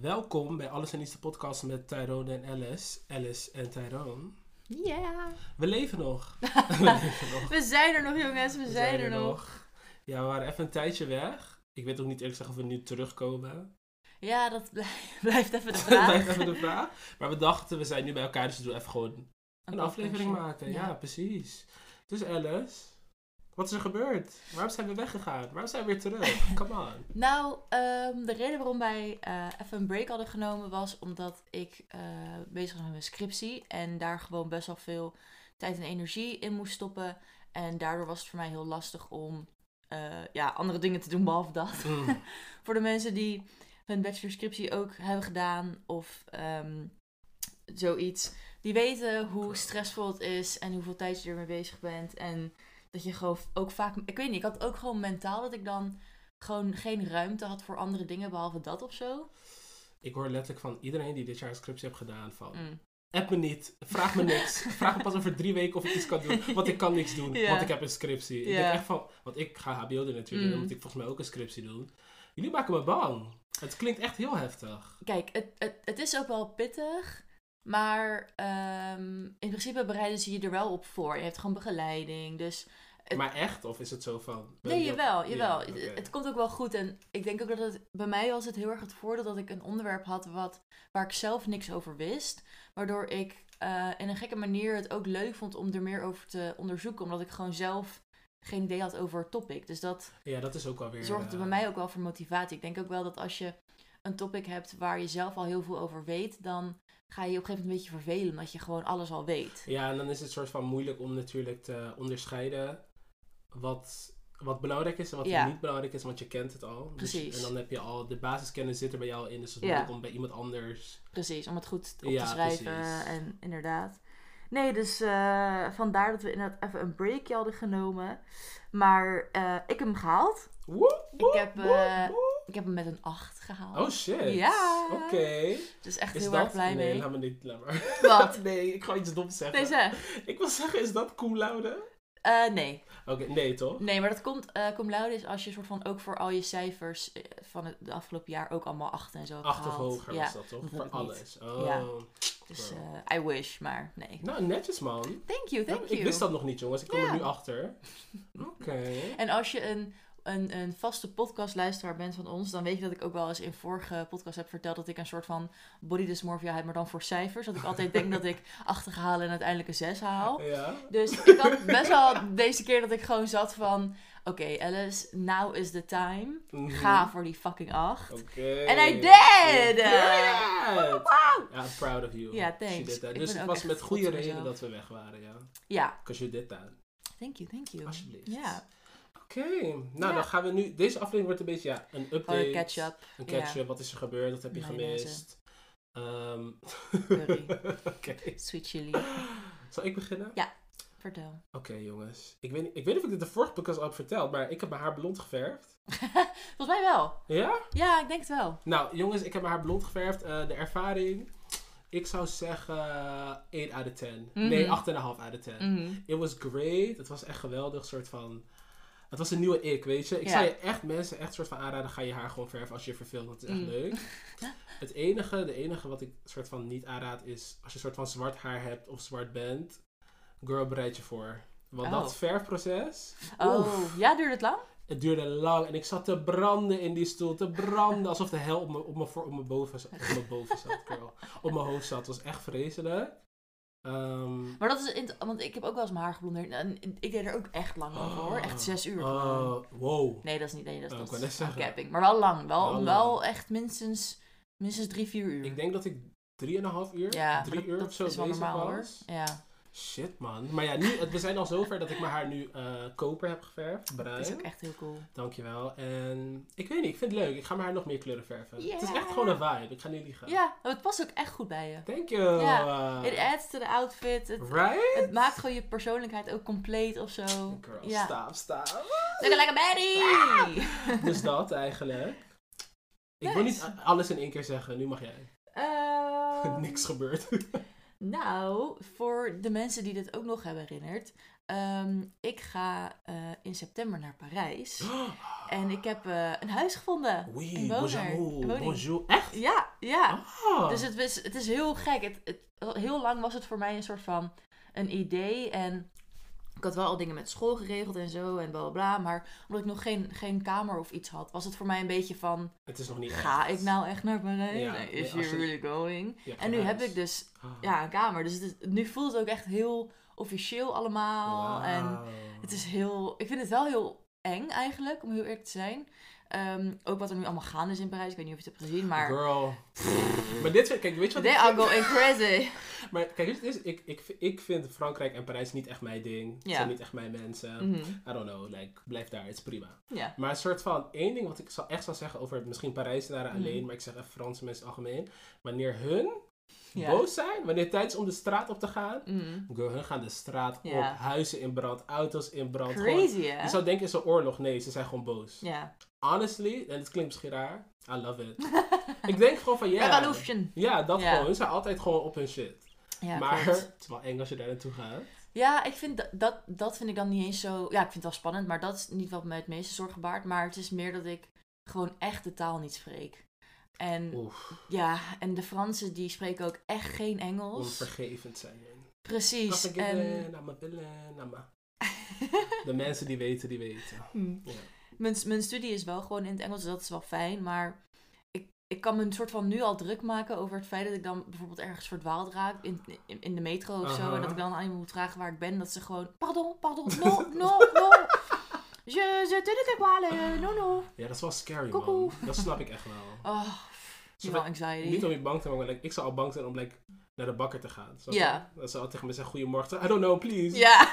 Welkom bij Alles en Niets, de podcast met Tyrone en Alice. Alice en Tyrone. Ja. We leven nog. we leven nog. We zijn er nog, jongens. We, We zijn, er nog. Ja, we waren even een tijdje weg. Ik weet ook niet eerlijk gezegd of we nu terugkomen. Ja, dat blij- blijft even de Dat vraag. blijft even de vraag. Maar we dachten, we zijn nu bij elkaar, dus we doen even gewoon een aflevering maken. Ja. precies. Dus Alice, wat is er gebeurd? Waarom zijn we weggegaan? Waarom zijn we weer terug? Come on. Nou, ehm, de reden waarom wij eh, even een break hadden genomen was omdat ik eh, bezig was met mijn scriptie. En daar gewoon best wel veel tijd en energie in moest stoppen. En daardoor was het voor mij heel lastig om eh, ja, andere dingen te doen behalve dat. Mm. voor de mensen die hun bachelorscriptie ook hebben gedaan of ehm, zoiets. Die weten hoe stressvol het is en hoeveel tijd je ermee bezig bent. En dat je gewoon ook vaak... Ik weet niet, ik had ook gewoon mentaal dat ik dan gewoon geen ruimte had voor andere dingen behalve dat of zo. Ik hoor letterlijk van iedereen die dit jaar een scriptie heeft gedaan van... Mm. App me niet. Vraag me niks. Vraag me pas over drie weken of ik iets kan doen. Want ik kan niks doen. Ja. Want ik heb een scriptie. Ik Ja. denk echt van... Want ik ga HBO doen natuurlijk. En dan Mm. moet ik volgens mij ook een scriptie doen. Jullie maken me bang. Het klinkt echt heel heftig. Kijk, het, het, het is ook wel pittig. Maar ehm, in principe bereiden ze je er wel op voor. Je hebt gewoon begeleiding. Dus Het- Maar echt? Of is het zo van... ben Nee, je- jawel, Ja, jawel. oké. Het, het komt ook wel goed. En ik denk ook dat het... Bij mij was het heel erg het voordeel dat ik een onderwerp had wat, waar ik zelf niks over wist. Waardoor ik eh, in een gekke manier het ook leuk vond om er meer over te onderzoeken. Omdat ik gewoon zelf geen idee had over het topic. Dus dat Ja, dat is ook alweer... zorgde eh, bij mij ook wel voor motivatie. Ik denk ook wel dat als je een topic hebt waar je zelf al heel veel over weet... dan ga je je op een gegeven moment een beetje vervelen omdat je gewoon alles al weet. Ja, en dan is het soort van moeilijk om natuurlijk te onderscheiden wat, wat belangrijk is en wat Ja. niet belangrijk is, want je kent het al. Dus- Precies. en dan heb je al, de basiskennis zit er bij jou in, dus het is Ja. moeilijk om bij iemand anders Precies, om het goed op Ja, te schrijven. precies. En inderdaad. Nee, dus eh, vandaar dat we inderdaad even een breakje hadden genomen. Maar eh, ik heb hem gehaald. Woep, woep, heb, woep, eh, woep. Ik heb hem met een 8 gehaald. Oh shit. Ja. Oké. dus echt Is heel dat? erg blij nee, mee. laat me niet. Laat maar. Wat? nee, ik ga iets doms zeggen. Nee, zeg. Ik wil zeggen, is dat cum laude? Eh, nee. Oké, nee toch? nee, maar dat komt, eh cum laude is als je soort van ook voor al je cijfers eh, van het de afgelopen jaar ook allemaal 8 en zo hebt Acht of gehaald. hoger oh Ja, was dat toch? dat Voor heb ik niet. alles. Oh. Ja. dus eh, I wish, maar nee. Nou, netjes man. Thank you, thank Dat- you. Ik wist dat nog niet, jongens. Ik kom Ja. er nu achter. Oké. En als je een, een, een vaste podcastluisteraar bent van ons, dan weet je dat ik ook wel eens in vorige podcast heb verteld dat ik een soort van body dysmorphia heb, maar dan voor cijfers. Dat ik altijd denk dat ik achtergehaal en uiteindelijk een 6 haal. Ja. Dus ik had best wel deze keer dat ik gewoon zat van, oké Alice, now is the time. Mhm. Ga voor die fucking 8. Oké. And I did! Yeah. Ja, I'm proud of you. Ja, She thanks. did that. Ik Dus het ben ook was echt met trots goede op reden mezelf. dat we weg waren, ja. Ja, Because you did that. thank you, thank you. Alsjeblieft. Ja, Oké, nou Ja. dan gaan we nu. Deze aflevering wordt een beetje ja, een gewoon update. een catch-up. Een ja. catch-up. Wat is er gebeurd? Wat heb je Mayonaise. gemist? Ehm, Curry. Oké. Sweet chili. Zal ik beginnen? Vertel. Oké, jongens. Ik weet, niet- ik weet niet of ik dit de vorige podcast al heb verteld, maar ik heb mijn haar blond geverfd. Volgens mij wel. Ja? Ja, ik denk het wel. Nou, jongens, ik heb mijn haar blond geverfd. Eh, de ervaring. Ik zou zeggen eh, 1 out of 10. Nee, Mhm. 8,5 out of 10. Mhm. It was great. Het was echt geweldig. Soort van. Het was een nieuwe ik, weet je. Ik Ja. zou je echt mensen echt soort van aanraden. Ga je haar gewoon verven als je je verveelt. Dat is echt Mm. leuk. Het enige, de enige wat ik soort van niet aanraad is. Als je soort van zwart haar hebt of zwart bent. Girl, bereid je voor. Want Oh. dat verfproces. Oh, oef, ja, duurt het lang? het duurde lang. En ik zat te branden in die stoel. Te branden. Alsof de hel op mijn- op mijn voor- op mijn boven, zat- op mijn boven zat. Girl. Op mijn hoofd zat. Het was echt vreselijk. Ehm, Maar dat is, int- want ik heb ook wel eens mijn haar geblondeerd. En ik deed er ook echt lang over hoor. Echt zes uur. gewoon. oh, wow. Nee, dat is niet. Nee, dat, Oh, dat ik wou net is zeggen. capping. Maar wel lang. Wel, Wel wel, lang. echt minstens, minstens drie, vier uur. Ik denk dat ik 3,5 uur, ja, drie dat, uur dat of zo is wel bezig normaal was. hoor. Ja, Shit man. Maar ja, nu, het- we zijn al zover dat ik mijn haar nu eh, koper heb geverfd. dat is ook Bruin. echt heel cool. Dankjewel. En ik weet niet, ik vind het leuk. Ik ga mijn haar nog meer kleuren verven. Het is Yeah. echt gewoon een vibe. Ik ga niet liegen. Ja, e- maar het past ook echt goed bij je. Thank you. Eh, It adds to the outfit. Het, right? het maakt gewoon je persoonlijkheid ook compleet of zo. Girl, ja. staaf, staaf. Lekker, lekker, Betty! Dus dat eigenlijk. Ik wil Nice. niet a- alles in één keer zeggen. Nu mag jij. Ehm, Niks gebeurd. Nou, voor de mensen die dit ook nog hebben herinnerd. ehm, ik ga eh, in september naar Parijs. En ik heb eh, een huis gevonden. Oui, een woner, bonjour. een woning. Bonjour. Echt? Ja, ja. Ah. Dus het is, het is heel gek. Het, het- heel lang was het voor mij een soort van een idee. En ik had wel al dingen met school geregeld en zo en bla bla bla. Maar omdat ik nog geen, geen kamer of iets had, was het voor mij een beetje van: het is nog niet ga echt. ik nou echt naar Parijs? Ja, Is als je- she really going? Je hebt En nu een heb huis. ik dus Ah. ja, een kamer. Dus het is- nu voelt het ook echt heel officieel allemaal. En Wauw. het is heel. Ik vind het wel heel eng eigenlijk, om heel eerlijk te zijn. Ehm, ook wat er nu allemaal gaande is in Parijs. Ik weet niet of je het hebt gezien, maar. Girl. maar dit vind kijk, weet je wat They ik are vind? going crazy. Maar kijk, weet je wat het is? Ik, ik, vind- ik vind Frankrijk en Parijs niet echt mijn ding. Het Ja. zijn niet echt mijn mensen. Mhm. I don't know, like, blijf daar, het is prima. Ja. Maar een soort van, één ding wat ik zou echt zou zeggen over misschien Parijzenaren Mhm. alleen, maar ik zeg even Franse mensen algemeen. Wanneer hun Ja. boos zijn, wanneer het tijd is om de straat op te gaan, Mm. girl, hun gaan de straat Ja. op, huizen in brand, auto's in brand. gewoon- Crazy, hè? je zou denken, is een oorlog? Nee, ze zijn gewoon boos. Ja. Honestly, en het klinkt misschien raar, I love it. ik denk gewoon van, ja. Revolution. Ja, dat Ja. gewoon. Ze zijn altijd gewoon op hun shit. Ja, maar klopt. het is wel eng als je daar naartoe gaat. Ja, ik vind dat, dat, dat vind ik dan niet eens zo... Ja, ik vind het wel spannend, maar dat is niet wat mij het meeste zorgen baart. Maar het is meer dat ik gewoon echt de taal niet spreek. En Oef, ja, en de Fransen die spreken ook echt geen Engels. onvergevend zijn. hun. Precies. I'm a En... villain, I'm a villain, I'm a- De mensen die weten, die weten. Hmm. eh, Ja. mijn, mijn studie is wel gewoon in het Engels, dus dat is wel fijn. Maar ik, ik kan me een soort van nu al druk maken over het feit dat ik dan bijvoorbeeld ergens verdwaald raak in, in, in de metro of zo. Aha. En dat ik dan aan iemand moet vragen waar ik ben. Dat ze gewoon, pardon, pardon, no, no, no. Je, je te niet kwalen, no, no. ja, dat is wel scary, Koekoe. man. Dat snap ik echt wel. Oh, Zo wel van, niet anxiety. om je bang te maken, maar like, ik zou al bang zijn om like, naar de bakker te gaan. Snap je? Ja. Dat ze altijd tegen me zeggen, goedemorgen. I don't know, please. Ja.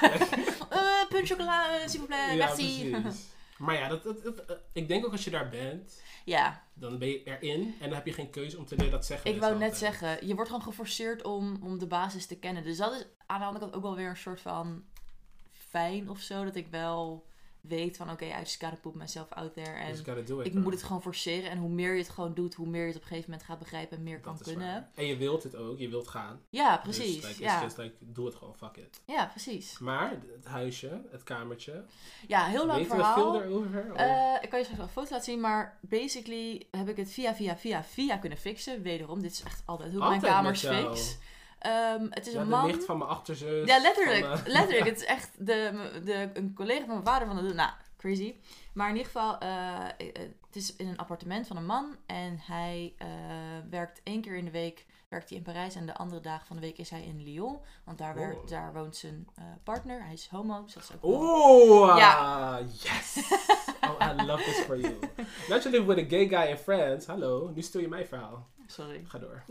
Eh punt chocola, eh, s'il vous plaît, Ja, merci. precies. Maar ja, dat, dat, dat- eh, ik denk ook als je daar bent, Ja, dan ben je erin. En dan heb je geen keuze om te leren dat zeggen. ik is wou altijd. net zeggen, je wordt gewoon geforceerd om, om de basis te kennen. Dus dat is aan de andere kant ook wel weer een soort van fijn of zo. Dat ik wel weet van, oké, uit de poep mezelf out there. En Dus you gotta do it, ik bro. moet het gewoon forceren. En hoe meer je het gewoon doet, hoe meer je het op een gegeven moment gaat begrijpen en meer Dat kan is kunnen. waar. En je wilt het ook, je wilt gaan. Ja, precies. Dus like, ja. it's just like, doe het gewoon, fuck it. ja, precies. Maar het huisje, het kamertje, Ja, heel lang weten verhaal. we veel erover? Of- Eh, ik kan je straks wel een foto laten zien, maar basically heb ik het via, via, via, via kunnen fixen. Wederom, dit is echt altijd hoe ik Altijd mijn kamers met jou. fix. Ehm, het is ja, een de man. nicht van mijn achterzus. Ja, letterlijk. van, eh, letterlijk. Het is echt de, de, een collega van mijn vader van de. Nou, crazy. Maar in ieder geval, eh, eh, het is in een appartement van een man. En hij eh, werkt één keer in de week werkt hij in Parijs. En de andere dagen van de week is hij in Lyon. Want daar, werkt- Wow. daar woont zijn eh, partner. Hij is homo. Dus dat is ook wel- Oeh, Ja. ah, yes! Oh, I love this for you. That you live with a gay guy in France. Hallo, nu stel je mijn verhaal. Sorry. Ga door.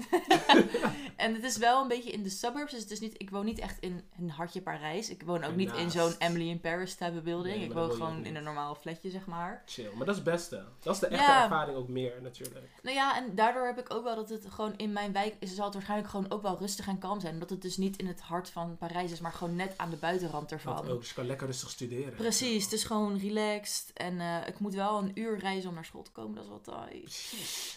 En het is wel een beetje in de suburbs. Dus het is niet, ik woon niet echt in een hartje Parijs. Ik woon ook niet in Ernaast. zo'n Emily in Paris type building. Nee, ik maar dat woon wil je ook gewoon niet. in een normaal flatje, zeg maar. Chill. Maar dat is het beste. Dat is de echte Ja. ervaring ook meer, natuurlijk. Nou ja, en daardoor heb ik ook wel dat het gewoon in mijn wijk is, zal het waarschijnlijk gewoon ook wel rustig en kalm zijn. Omdat het dus niet in het hart van Parijs is, maar gewoon net aan de buitenrand Dat ervan. ook. Dus je kan lekker rustig studeren. Precies, het is gewoon relaxed. En eh, ik moet wel een uur reizen om naar school te komen, dat is wel taai.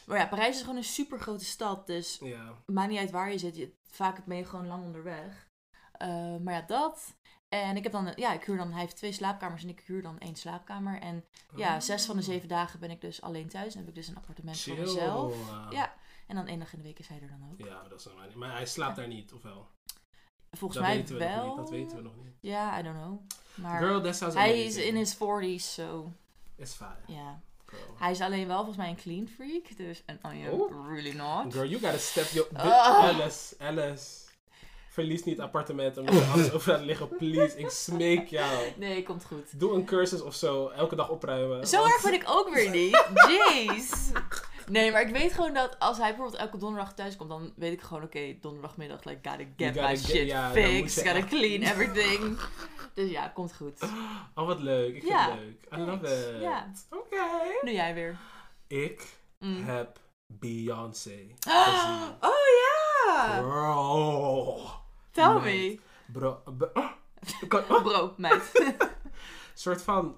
Maar ja, Parijs is gewoon een super grote stad, dus Ja. maakt niet uit waar je zit. Je, vaak ben je gewoon lang onderweg. Eh, maar ja, dat. En ik heb dan, ja, ik huur dan, hij heeft twee slaapkamers en ik huur dan één slaapkamer. En Oh. ja, zes van de zeven dagen ben ik dus alleen thuis en heb ik dus een appartement Chill. voor mezelf. Ja. Ja. En dan één dag in de week is hij er dan ook. maar dat is normaal niet. Maar hij slaapt daar niet, of wel? Volgens dat mij weten we wel. nog niet. Dat weten we nog niet. Ja, I don't know. Maar Girl, that sounds hij is amazing. in his 40s, so It's fine, ja. girl. Hij is alleen wel volgens mij een clean freak, dus en I am Oh. really not. Girl, you gotta step your... Dit- Ah. Alice, Alice. Verlies niet appartement om je alles over te liggen. Please, ik smeek jou. Nee, komt goed. Doe een cursus of zo. Elke dag opruimen. Zo Want- erg ben ik ook weer niet. Jeez. Nee, maar ik weet gewoon dat als hij bijvoorbeeld elke donderdag thuis komt, dan weet ik gewoon, oké, donderdagmiddag, like, gotta get gotta my get- shit ja, dan moet fixed, je gotta echt- clean everything. Dus ja, komt goed. Oh, wat leuk. Ik vind Ja, het leuk. I love thanks. it. Ja. Oké. Nu jij weer. Ik Mm. heb Beyoncé Ah, gezien. Oh ja! Bro. Tell meid. me. Bro. b- oh. Ik kan- oh. Bro, meid. soort van...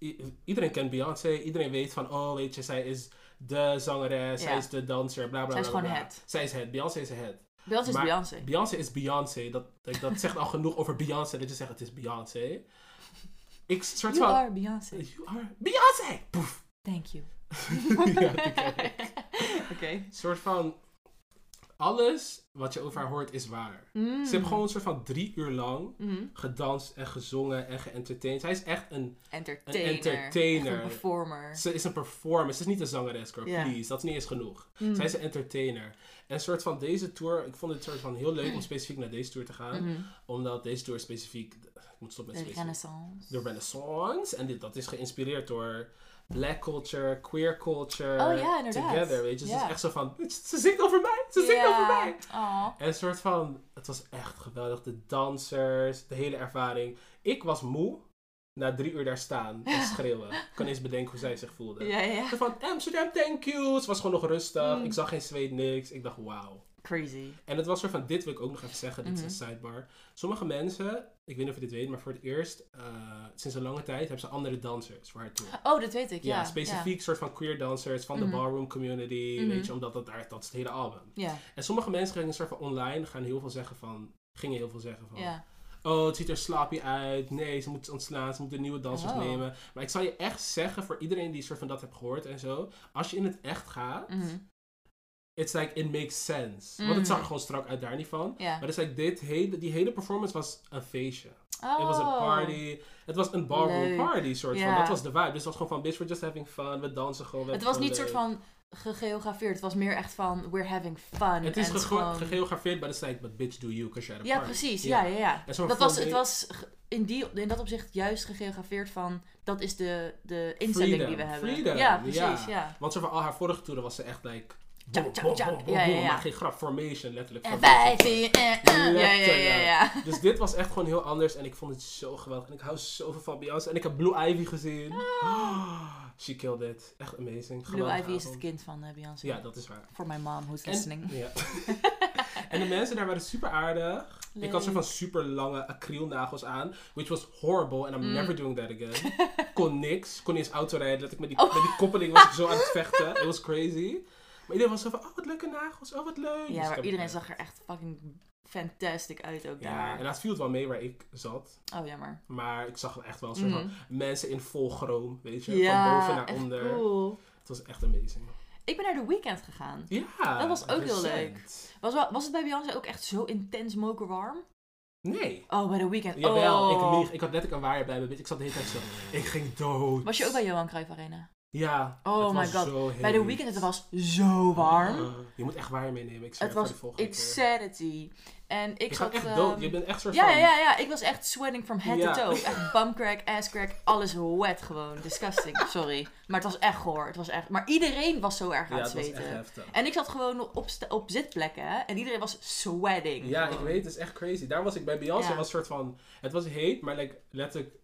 i- Iedereen kent Beyoncé. Iedereen weet van... Oh, weet je, zij is de zangeres. Zij Ja. is de danser. Bla, bla, Zij is bla, bla, gewoon bla. het. Zij is het. Beyoncé is het. Beyoncé is Maar- Beyoncé. Beyoncé is Beyoncé. Dat, dat, dat zegt al genoeg over Beyoncé dat je zegt het is Beyoncé. Ik soort You van. are Beyoncé. You are Beyoncé! Poef. Thank you. ja, die ken ik. Oké. Een soort van. Alles wat je over haar hoort is waar. Mm. Ze hebben gewoon een soort van drie uur lang Mhm. gedanst en gezongen en geëntertained. Zij is echt een. entertainer. Een entertainer. Echt een performer. Ze is een performer. Ze is niet een zangeres, girl. Ja. Please, dat is niet eens genoeg. Mm. Zij is een entertainer. En een soort van deze tour. Ik vond het soort van heel Hmm. leuk om specifiek naar deze tour te gaan. Mhm. Omdat deze tour specifiek. Ik moet stoppen De met specifiek. renaissance. de Renaissance. En dit, dat is geïnspireerd door black culture, queer culture. Oh ja, inderdaad. Together, weet je. Dus Het Ja. is echt zo van, "Bitch, ze zingt over mij, ze zingt over mij. Oh. En een soort van, het was echt geweldig. De dansers, de hele ervaring. Ik was moe na drie uur daar staan en schreeuwen. Ik kan eens bedenken hoe zij zich voelde. Ja, ja. Zo Van Amsterdam, thank you. Ze was gewoon nog rustig. Mm. Ik zag geen zweet, niks. Ik dacht, wauw. Crazy. En het was soort van, dit wil ik ook nog even zeggen, dit Mhm. is een sidebar. Sommige mensen, ik weet niet of je dit weet, maar voor het eerst, eh, sinds een lange tijd, hebben ze andere dansers voor haar toe. Oh, dat weet ik. Ja, Ja, specifiek soort van queer dansers van Mhm. de ballroom community, Mhm. weet je, omdat dat, daar, dat is het hele album. Ja, En sommige mensen gingen soort van online, gaan heel veel zeggen van, gingen heel veel zeggen van, ja. oh het ziet er slappy uit, nee ze moet ontslaan, ze moeten nieuwe dansers Oh. nemen. Maar ik zal je echt zeggen, voor iedereen die soort van dat hebt gehoord en zo, als je in het echt gaat, Mhm. it's like, it makes sense. Want het Mm. zag er gewoon strak uit, daar niet van. Ja. Maar dus like dit hele, die hele performance was een feestje. Oh. Het was een party. Het was een ballroom Leuk. party soort Ja. van. Dat was de vibe. Dus het was gewoon van, bitch, we're just having fun. We dansen gewoon. we Het was hebben niet gewoon soort leuk. van gegeografeerd. Het was meer echt van, we're having fun. Het is en gege- gewoon- gegeografeerd, maar het is like, but bitch do you, because you're at a Ja, party. precies. Ja, ja, ja. En zo'n Dat was, full het day- was ge- in, die, in dat opzicht juist gegeografeerd van, dat is de, de instelling die we Freedom, hebben. freedom, ja, ja. precies. Ja. Want soort van al haar vorige toeren was ze echt like... Ja, Boom, ja, boom, ja. boom, boom, Ja, ja, boom. ja. Maar geen grap, formation, letterlijk. En formation. vijftien, eh, eh. Ja, ja, ja, ja. Dus dit was echt gewoon heel anders en ik vond het zo geweldig. En ik hou zoveel van Beyoncé. En ik heb Blue Ivy gezien. She killed it. Echt amazing. Ah. Blue Geweldige Ivy is het avond. kind van eh, Beyoncé. Ja, dat is waar. Voor mijn mom, who's En- listening. Ja. en de mensen daar waren super aardig. Ik had soort van Leuk. super lange acrylnagels aan. Which was horrible and I'm Mm. never doing that again. Kon niks. Kon niet eens auto rijden. Dat ik met die, Oh. met die koppeling was ik zo aan het vechten. It was crazy. Maar iedereen was zo van, oh wat leuke nagels. Oh wat leuk. Dus Ja, ik maar heb- iedereen zag er echt fucking fantastic uit ook Ja, daar. en dat viel het wel mee waar ik zat. Oh, jammer. Maar ik zag wel echt wel een soort van Mm. mensen in vol chroom, weet je. Ja, van boven naar echt onder. cool. Het was echt amazing. Ik ben naar The Weeknd gegaan. Ja. Dat was ook heel recent. Was, wel- was het bij Beyoncé ook echt zo intens mokerwarm? Nee. Oh, bij The Weeknd. Jawel, oh. ik lieg. Ik had net een waaier bij me. bitch. Ik zat de hele tijd zo. Ik ging dood. Was je ook bij Johan Cruijff Arena? Ja. Oh het my was god. zo Bij The heet. Weeknd, het was zo warm. Ah, je moet echt waaier meenemen. Ik zweer het het voor was de volgende keer. insanity. En ik Je zat... gaat echt ehm, dood. Je bent echt soort ja, van... ja, ja. Ik was echt sweating from head Ja. to toe. Echt bum crack, ass crack, alles wet gewoon. Disgusting, sorry. Maar het was echt goor. Het was echt... Maar iedereen was zo erg aan Ja, het het was zweten. echt heftig. En ik zat gewoon op, sta- op zitplekken hè, en iedereen was sweating. Ja, ik Gewoon. weet. Het is echt crazy. Daar was ik bij Beyoncé. Ja. was soort van... Het was heet, maar like, letterlijk...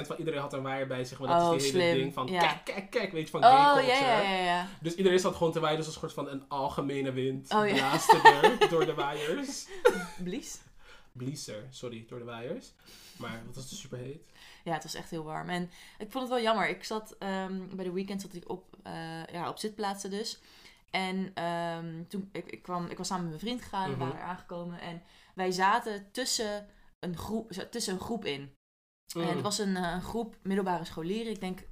80% van iedereen had een waaier bij zich. Maar dat Oh, is die hele slim. ding van... Ja. Kijk, kijk, kijk. Weet je, van gay Oh, culture. ja, ja, ja, ja. Dus iedereen zat gewoon te waaien. Dus een soort van een algemene wind. Oh, ja. Blaaste er door de waaiers. Blies? Bliezer, sorry. Door de waaiers. Maar dat was dus super heet. Ja, het was echt heel warm. En ik vond het wel jammer. Ik zat ehm, bij de weekend zat ik op, eh, ja, op zitplaatsen dus. En ehm, toen ik, ik, kwam, ik was samen met mijn vriend gegaan, Mhm. we waren er aangekomen. En wij zaten tussen een groep, tussen een groep in. En Mhm. Mm. het was een eh, groep middelbare scholieren, ik denk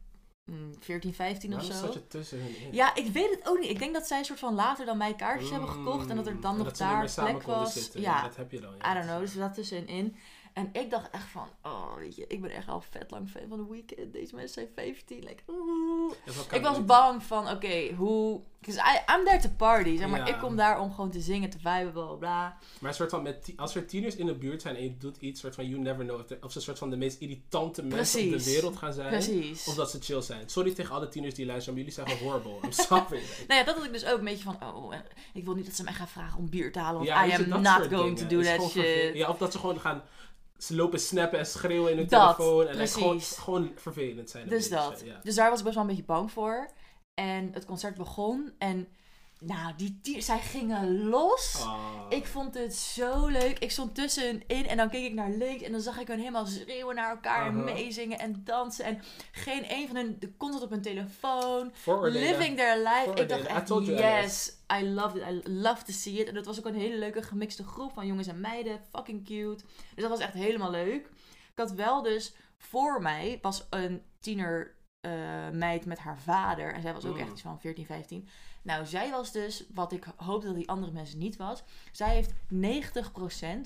mm, 14, 15 of Waarom zo. zat je tussen hun in? Ja, ik weet het ook niet. Ik denk dat zij een soort van later dan mij kaartjes hebben gekocht. En dat er Mm, dan nog dat ze niet meer daar samen plek konden was. zitten. Ja, Dat heb je dan. ja. I don't know. Dus we zaten tussenin. En ik dacht echt van, oh weet je, ik ben echt al vet lang fan van The Weeknd. Deze mensen zijn 15. Like, oeh. Dat kan Ik was niet. bang van, oké, hoe... Because I- I'm there to party, zeg maar. Ja. Ik kom daar om gewoon te zingen, te viben, bla bla bla. Maar soort van met ti- als er tieners in de buurt zijn en je doet iets, soort van you never know of, de- of ze soort van de meest irritante mensen op de Precies. wereld gaan zijn. Precies. Of dat ze chill zijn. Sorry tegen alle tieners die luisteren, maar jullie zijn gewoon horrible. I'm sorry. Nou ja, dat had ik dus ook een beetje van, oh, en ik wil niet dat ze mij gaan vragen om bier te halen. Want I weet je, am dat not soort going dingen. to do Is that gewoon vervelend. shit. Ja, of dat ze gewoon gaan, ze lopen snappen en schreeuwen in hun Dat, telefoon. En like, gewoon, precies. gewoon vervelend zijn. een Dus beetje, dat. ja. Dus daar was ik best wel een beetje bang voor. En het concert begon. En nou, die tier, zij gingen los. Ah. Dus Ik vond het zo leuk. Ik stond tussenin en dan keek ik naar links. En dan zag ik hun helemaal schreeuwen naar elkaar. En Aha. meezingen en dansen. En geen een van hun de constant op hun telefoon. Vooroordelen. Living their life. Ik dacht Vooroordelen. I echt, told you, yes. I loved it. I love to see it. En dat was ook een hele leuke gemixte groep van jongens en meiden. Fucking cute. Dus dat was echt helemaal leuk. Ik had wel dus voor mij was een tiener eh, meid met haar vader. En zij was ook Mm. echt iets van 14, 15. Nou, zij was dus, wat ik hoopte dat die andere mensen niet was. Zij heeft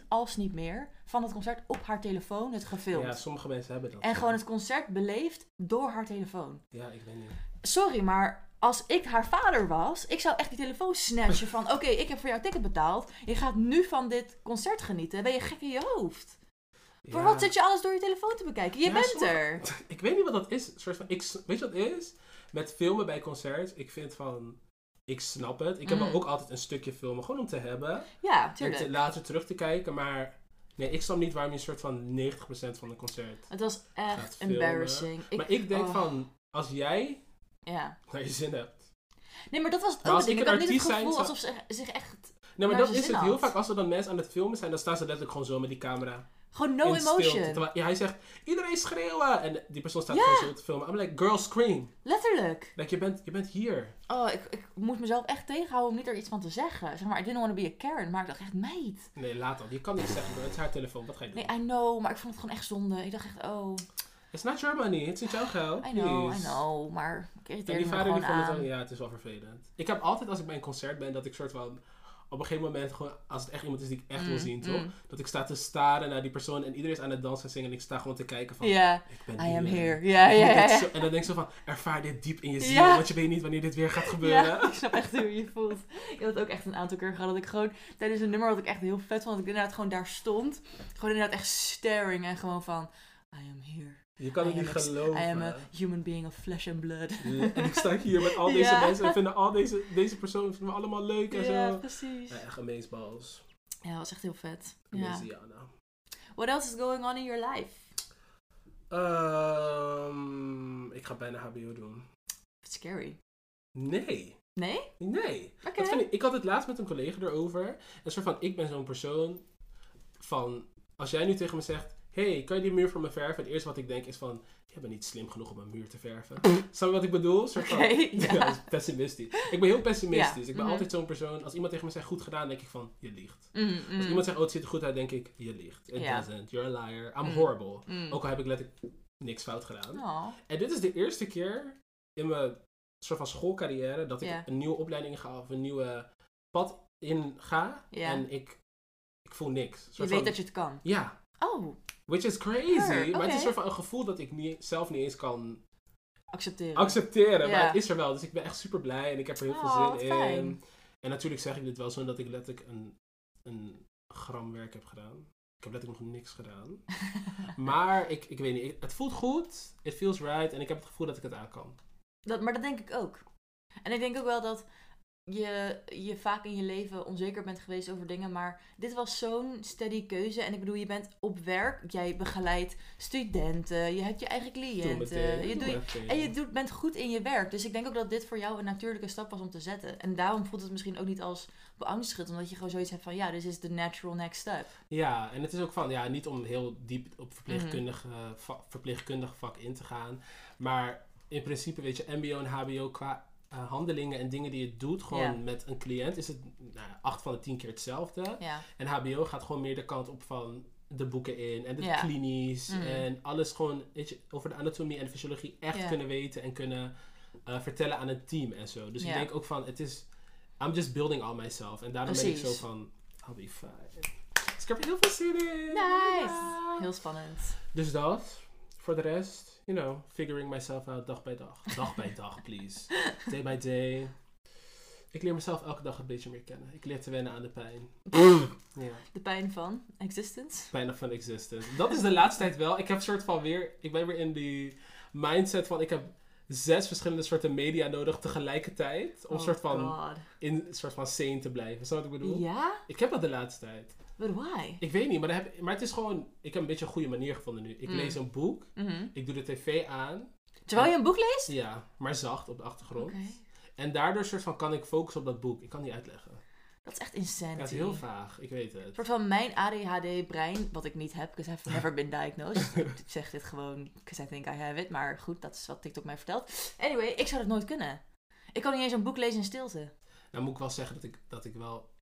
90%, als niet meer, van het concert op haar telefoon het gefilmd. Ja, sommige mensen hebben dat. En gewoon het concert beleefd door haar telefoon. Ja, ik weet niet. Sorry, maar als ik haar vader was, ik zou echt die telefoon snatchen van... Oké, ik heb voor jouw ticket betaald. Je gaat nu van dit concert genieten. Ben je gek in je hoofd? Voor Ja. wat zit je alles door je telefoon te bekijken? Je Ja, bent sommige- er. Ik weet niet wat dat is. Een soort van, ik, s- weet je wat het is? Met filmen bij concerts, ik vind van... Ik snap het. Ik heb Mm. wel ook altijd een stukje filmen, gewoon om te hebben. Ja, En te- tuurlijk. later terug te kijken, maar... Nee, ik snap niet waarom je een soort van 90% van een concert... Het was Gaat echt filmen. embarrassing. Ik- maar ik denk oh, van, als jij Ja. naar je zin hebt... Nee, maar dat was het Maar ook. als ding. ik Ik een had niet artiest het zijn, gevoel zou- alsof ze zich echt... Nee, maar Naar dat je is zin het. Heel had. vaak als er dan mensen aan het filmen zijn, dan staan ze letterlijk gewoon zo met die camera. Gewoon no in stilte. emotion. Terwijl- ja, hij zegt, iedereen schreeuwen! En die persoon staat Ja. gewoon zo te filmen. I'm like, girl, scream! Letterlijk. Like, je bent, je bent hier. Oh, ik, ik moet mezelf echt tegenhouden om niet er iets van te zeggen. Zeg maar, I didn't want to be a Karen, maar ik dacht echt, meid. Nee, laat dat. Je kan niks zeggen, het is haar telefoon. Wat ga je doen? Nee, I know, maar ik vond het gewoon echt zonde. Ik dacht echt, oh, It's not your money, it's niet jouw geld. I know, please. I know, maar ik En irriteerde die me er vader die gewoon vond het aan. dan, ja, het is wel vervelend. Ik heb altijd als ik bij een concert ben, dat ik soort van op een gegeven moment gewoon, als het echt iemand is die ik echt wil Mm, zien, mm. toch? Dat ik sta te staren naar die persoon en iedereen is aan het dansen en zingen en ik sta gewoon te kijken van, Ja, ik ben I hier. am here. Ja, Ik eh, ja, moet ja. dit ja. zo- en dan denk ik zo van, ervaar dit diep in je ziel, Ja. want je weet niet wanneer dit weer gaat gebeuren. Ja, ik snap echt hoe je voelt. Ik had het ook echt een aantal keer gehad dat ik gewoon tijdens een nummer wat ik echt heel vet vond, dat ik inderdaad gewoon daar stond. Gewoon inderdaad echt staring en gewoon van, I am here. Je kan het I am niet ex- geloven. I am a human being of flesh and blood. eh, En ik sta hier met al deze Ja. mensen en vinden al deze, deze personen vinden we allemaal leuk en Ja, zo. precies. Ja, echt amazeballs. Ja, dat was echt heel vet. Ja. Amazing, Jana. What else is going on in your life? Ehm, ik ga bijna HBO doen. Scary. Nee. Nee? Nee. Oké. Dat vind ik, ik had het laatst met een collega erover. Een soort van, ik ben zo'n persoon van, als jij nu tegen me zegt, hey, kan je die muur voor me verven? Het eerste wat ik denk is van, je bent niet slim genoeg om een muur te verven. Snap je wat ik bedoel? Een soort van- Oké, ja. ja. dat is pessimistisch. Ik ben heel pessimistisch. Ja, Ik ben mhm. altijd zo'n persoon, als iemand tegen me zegt, goed gedaan, denk ik van, je liegt. Mm, mm. Als iemand zegt, oh, het ziet er goed uit, denk ik, je liegt. It Ja. doesn't. You're a liar. I'm Mm. horrible. Mm. Ook al heb ik letterlijk niks fout gedaan. Oh. En dit is de eerste keer in mijn soort van schoolcarrière dat ik Ja. een nieuwe opleiding ga of een nieuwe pad in ga. Ja. En ik, ik voel niks. Je Soort weet van- dat je het kan. Ja, Oh, which is crazy. Sure, Maar het is oké. soort van een gevoel dat ik niet, zelf niet eens kan accepteren. accepteren. Maar Ja. het is er wel. Dus ik ben echt super blij en ik heb er heel Oh, veel wat zin in. fijn. En natuurlijk zeg ik dit wel zo dat ik letterlijk een, een gram werk heb gedaan. Ik heb letterlijk nog niks gedaan. Maar ik, ik weet niet, ik- het voelt goed. It feels right. En ik heb het gevoel dat ik het aan kan. dat, maar dat denk ik ook. En ik denk ook wel dat je, je vaak in je leven onzeker bent geweest over dingen. Maar dit was zo'n steady keuze. En ik bedoel, je bent op werk. Jij begeleidt studenten. Je hebt je eigen Doe cliënten. meteen. Je Doe doet, meteen. En je doet, bent goed in je werk. Dus ik denk ook dat dit voor jou een natuurlijke stap was om te zetten. En daarom voelt het misschien ook niet als beangstigend. Omdat je gewoon zoiets hebt van, ja, this is the natural next step. Ja, en het is ook van, ja, niet om heel diep op Mhm. verpleegkundige, va- verpleegkundig vak in te gaan. Maar in principe, weet je, MBO en HBO qua eh, handelingen en dingen die je doet, gewoon Ja. met een cliënt, is het nou, acht van de tien keer hetzelfde. Ja, En HBO gaat gewoon meer de kant op van de boeken in en de Ja. klinisch Mhm. en alles gewoon weet je, over de anatomie en de fysiologie echt Ja. kunnen weten en kunnen eh, vertellen aan het team en zo. Dus ik Ja. denk ook van, het is, I'm just building all myself. En daarom ben ik Precies. zo van, I'll be fine. Dus ik heb er heel veel zin in. Ja. Nice! heel spannend. Dus dat. Voor de rest, you know, figuring myself out dag bij dag. Dag bij dag, please. Day by day. Ik leer mezelf elke dag een beetje meer kennen. Ik leer te wennen aan de pijn. Ja. De pijn van existence. Bijna van existence. Dat is de laatste tijd wel. Ik heb soort van weer. Ik ben weer in die mindset van ik heb zes verschillende soorten media nodig tegelijkertijd. Om Oh soort van God. in soort van sane te blijven. Snap je wat ik bedoel? Ja? Ik heb dat de laatste tijd. But why? Ik weet niet, maar, dan heb, maar het is gewoon. Ik heb een beetje een goede manier gevonden nu. Ik Mm. lees een boek. Mhm. Ik doe de tv aan. Terwijl je een boek leest? Ja, maar zacht op de achtergrond. Oké. En daardoor soort van kan ik focussen op dat boek. Ik kan het niet uitleggen. Dat is echt insanity. Ja, het is heel vaag. Ik weet het. Een soort van mijn ADHD-brein, wat ik niet heb, because I've never been diagnosed. ik zeg dit gewoon, because I think I have it. Maar goed, dat is wat TikTok mij vertelt. Anyway, ik zou dat nooit kunnen. Ik kan niet eens een boek lezen in stilte. Nou moet ik wel zeggen dat ik, dat ik wel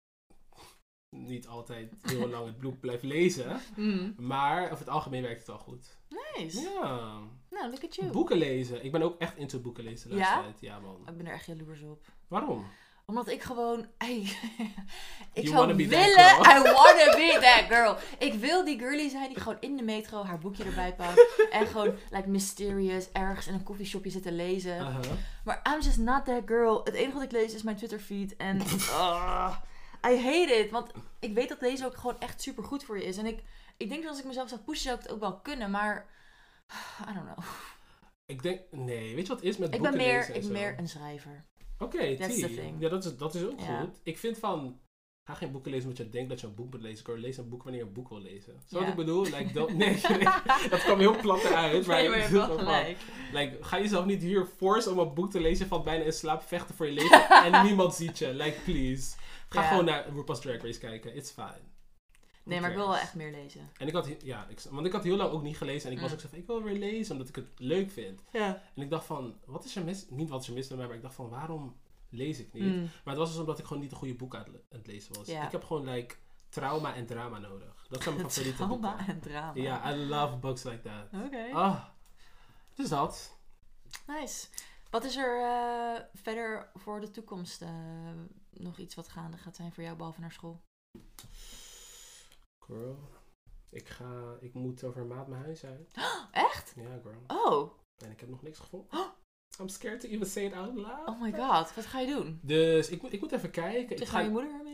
niet altijd heel lang het bloed blijf lezen. Mhm. Mm. Maar over het algemeen werkt het wel goed. Nice. Ja. Nou, look at you. Boeken lezen. Ik ben ook echt into boeken lezen de laatste Ja? tijd. Ja, man. ik ben er echt jaloers op. Waarom? Omdat ik gewoon... ik You wanna zou be that willen... girl. I wanna be that girl. Ik wil die girlie zijn die gewoon in de metro haar boekje erbij pakt. en gewoon, like, mysterious ergens in een koffieshopje zit te lezen. Uh-huh. Maar I'm just not that girl. Het enige wat ik lees is mijn Twitter feed. En ah, I hate it. Want ik weet dat lezen ook gewoon echt super goed voor je is. En ik, ik denk dat als ik mezelf zou pushen, zou ik het ook wel kunnen. Maar I don't know. Ik denk, nee, weet je wat het is met Ik ben boeken meer, lezen en ik zo? ben meer een schrijver. Oké, That's T. the thing. Ja, dat is, dat is ook Ja. goed. Ik vind van, ga geen boeken lezen omdat je denkt dat je een boek moet lezen. Ik lees een boek wanneer je een boek wil lezen. Zo wat Ja. ik bedoel? Like, don't- nee, nee. dat kwam heel plat eruit. Maar Nee, maar je hebt ik bedoel wel van, gelijk. Like, ga jezelf niet hier force om een boek te lezen. Je valt bijna in slaap, vechten voor je leven en niemand ziet je. Like, please. Ga Ja. gewoon naar RuPaul's Drag Race kijken. It's fine. Nee, maar ik wil wel echt meer lezen. En ik had, he- ja, ik, want ik had heel lang ook niet gelezen. En ik was Mm. ook zo van, ik wil weer lezen omdat ik het leuk vind. Ja. En ik dacht van, wat is er mis? Niet wat is er mis met mij, maar ik dacht van, waarom lees ik niet? Mm. Maar het was dus omdat ik gewoon niet de goede boek aan het lezen was. Ja. Ik heb gewoon like trauma en drama nodig. Dat zijn mijn favoriete Trauma boeken. en drama. Ja, I love books like that. Oké. Ah, dus dat. Nice. Wat is er eh, verder voor de toekomst eh, nog iets wat gaande gaat zijn voor jou, behalve naar school? Girl, ik ga, ik moet over een maand mijn huis uit. Echt? Ja, girl. Oh. En ik heb nog niks gevonden. I'm scared to even say it out loud. Oh my god. Wat ga je doen? Dus ik moet, ik moet even kijken. Ik Tegen ga, je moeder, maybe?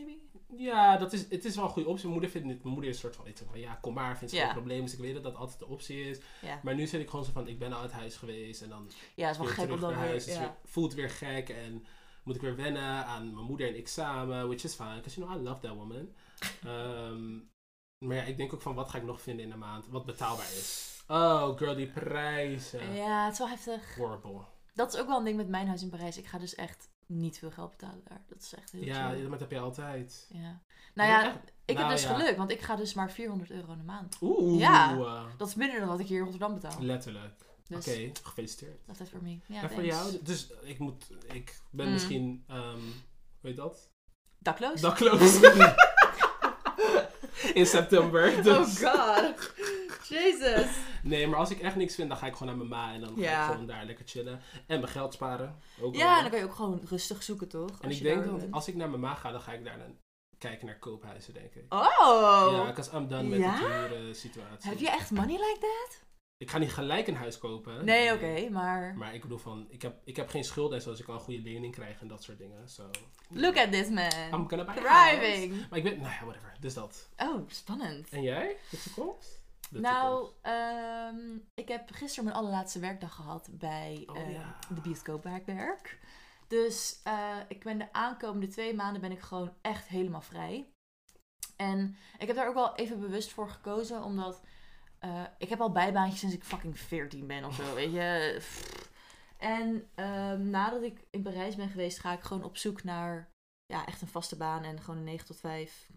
ja, dat is, het is wel een goede optie. Mijn moeder vindt het, mijn moeder is een soort van, iets van ja, kom maar, vindt ze Ja. geen probleem. Dus ik weet dat dat altijd de optie is. Ja. Maar nu zit ik gewoon zo van, ik ben al uit huis geweest en dan Ja, is wel weer gek om terug dan naar weer... huis. Het is Ja. weer- voelt weer gek en moet ik weer wennen aan mijn moeder en ik samen, which is fine, because you know I love that woman. Ehm, maar ja, ik denk ook van wat ga ik nog vinden in een maand, wat betaalbaar is. Oh girl, die prijzen. ja, het is wel heftig. Horrible. Dat is ook wel een ding met mijn huis in Parijs. Ik ga dus echt niet veel geld betalen daar. Dat is echt heel Ja, chill. dat heb je altijd. Ja. Nou Dat ja, is echt- ik nou heb dus ja. geluk, want ik ga dus maar 400 euro in de maand. Oeh. Ja. eh, Dat is minder dan wat ik hier in Rotterdam betaal. Letterlijk. Dus Oké, gefeliciteerd. dat is voor mij. Ja, en voor thanks. jou, dus ik moet, ik ben Mm. misschien, ehm hoe heet dat? Dakloos? Dakloos. in september. Dus. Oh, Oh god. Jesus. Nee, maar als ik echt niks vind, dan ga ik gewoon naar mijn ma en dan ga Ja. ik gewoon daar lekker chillen. En mijn geld sparen. Ook Ja, en wel. dan kan je ook gewoon rustig zoeken, toch? en Als ik je denk daar dat bent. als ik naar mijn ma ga, dan ga ik daar dan kijken naar koophuizen, denk ik. Oh! Ja, because I'm done met Ja? de dure situatie. Heb je echt money like that? Ik ga niet gelijk een huis kopen. Nee, oké, maar... Maar ik bedoel van, ik heb, ik heb geen schulden en zoals ik kan een goede lening krijgen en dat soort dingen. So, Look at this I'm man. gonna buy a house. Thriving. Maar ik ben, nou ja, whatever. Dus dat. Oh, spannend. En jij? De toekomst? De Nou, toekomst. ehm, ik heb gisteren mijn allerlaatste werkdag gehad bij Oh, eh, ja. de bioscoop waar ik werk. Dus eh, ik ben de aankomende twee maanden ben ik gewoon echt helemaal vrij. En ik heb daar ook wel even bewust voor gekozen, omdat eh, ik heb al bijbaantjes sinds ik fucking 14 ben of zo, weet je. Pff. En ehm, nadat ik in Parijs ben geweest, ga ik gewoon op zoek naar ja, echt een vaste baan en gewoon een 9 tot 5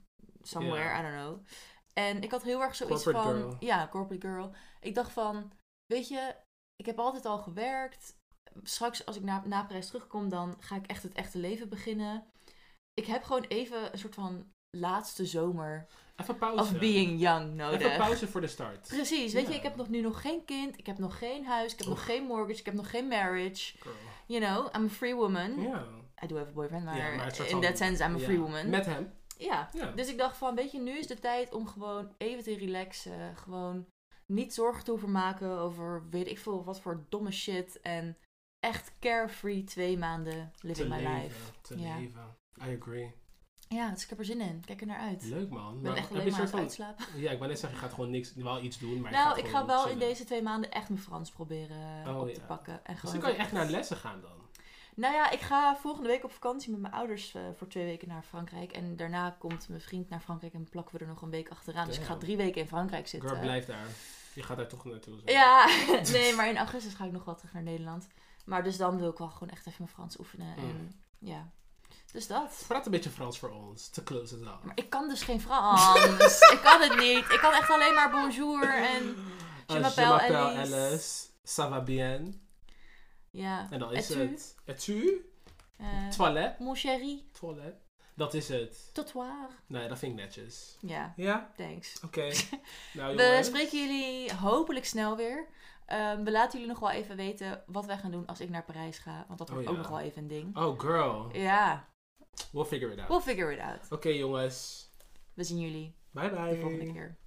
somewhere, Ja. I don't know. En ik had heel erg zoiets Corporate van... girl. Ja, corporate girl. Ik dacht van, weet je, ik heb altijd al gewerkt. Straks als ik na, na Parijs terugkom, dan ga ik echt het echte leven beginnen. Ik heb gewoon even een soort van laatste zomer Even pauze. of being young Oh, Even nodig. pauze voor de start. Precies, weet je, Ja. ik heb nog nu nog geen kind, ik heb nog geen huis, ik heb nog Oef. geen mortgage, ik heb nog geen marriage. Girl. You know, I'm a free woman. Ja. I do have a boyfriend, maar, Ja, maar het soort in van- that sense I'm a Ja. free woman. Met hem. Ja, Ja. dus ik dacht van, weet je, nu is de tijd om gewoon even te relaxen. Gewoon niet zorgen te hoeven maken over weet ik veel wat voor domme shit. En echt carefree twee maanden living my life. Te Ja. leven. I agree. Ja, dus ik heb er zin in. Kijk er naar uit. Leuk man. Ik ben echt heb je alleen maar aan een het soort uitslapen. van, ja, ik wou net zeggen, je gaat gewoon niks, wel iets doen. Maar je gaat Nou, ik ga gewoon wel in chillen. deze twee maanden echt mijn Frans proberen eh, Oh, op te ja. pakken. En Dus gewoon dan kan je echt naar lessen gaan dan. Nou ja, ik ga volgende week op vakantie met mijn ouders eh, voor twee weken naar Frankrijk. En daarna komt mijn vriend naar Frankrijk en plakken we er nog een week achteraan. Dus ik ga Damn. drie weken in Frankrijk zitten. Girl, blijf daar. Je gaat daar toch naartoe. zo. Ja, nee, maar in augustus ga ik nog wel terug naar Nederland. Maar dus dan wil ik wel gewoon echt even mijn Frans oefenen. En, Mm. ja, dus dat. Praat een beetje Frans voor ons. To close it Ah, out. Maar ik kan dus geen Frans. ik kan het niet. Ik kan echt alleen maar bonjour en Eh, je m'appelle Alice. Alice. Ça va bien. ja. En dan Et is tu? het... Et tu? eh, Toilet. mon chéri, Toilet. Dat is het. trottoir. Nee, dat vind ik netjes. Ja, Ja, thanks. oké. Nou, We jongens. spreken jullie hopelijk snel weer. Ehm, we laten jullie nog wel even weten wat wij gaan doen als ik naar Parijs ga. Want dat Oh wordt ja. ook nog wel even een ding. Oh, girl. Ja, We'll figure it out. we'll figure it out. Oké, jongens. We zien jullie Bye bye. de volgende keer.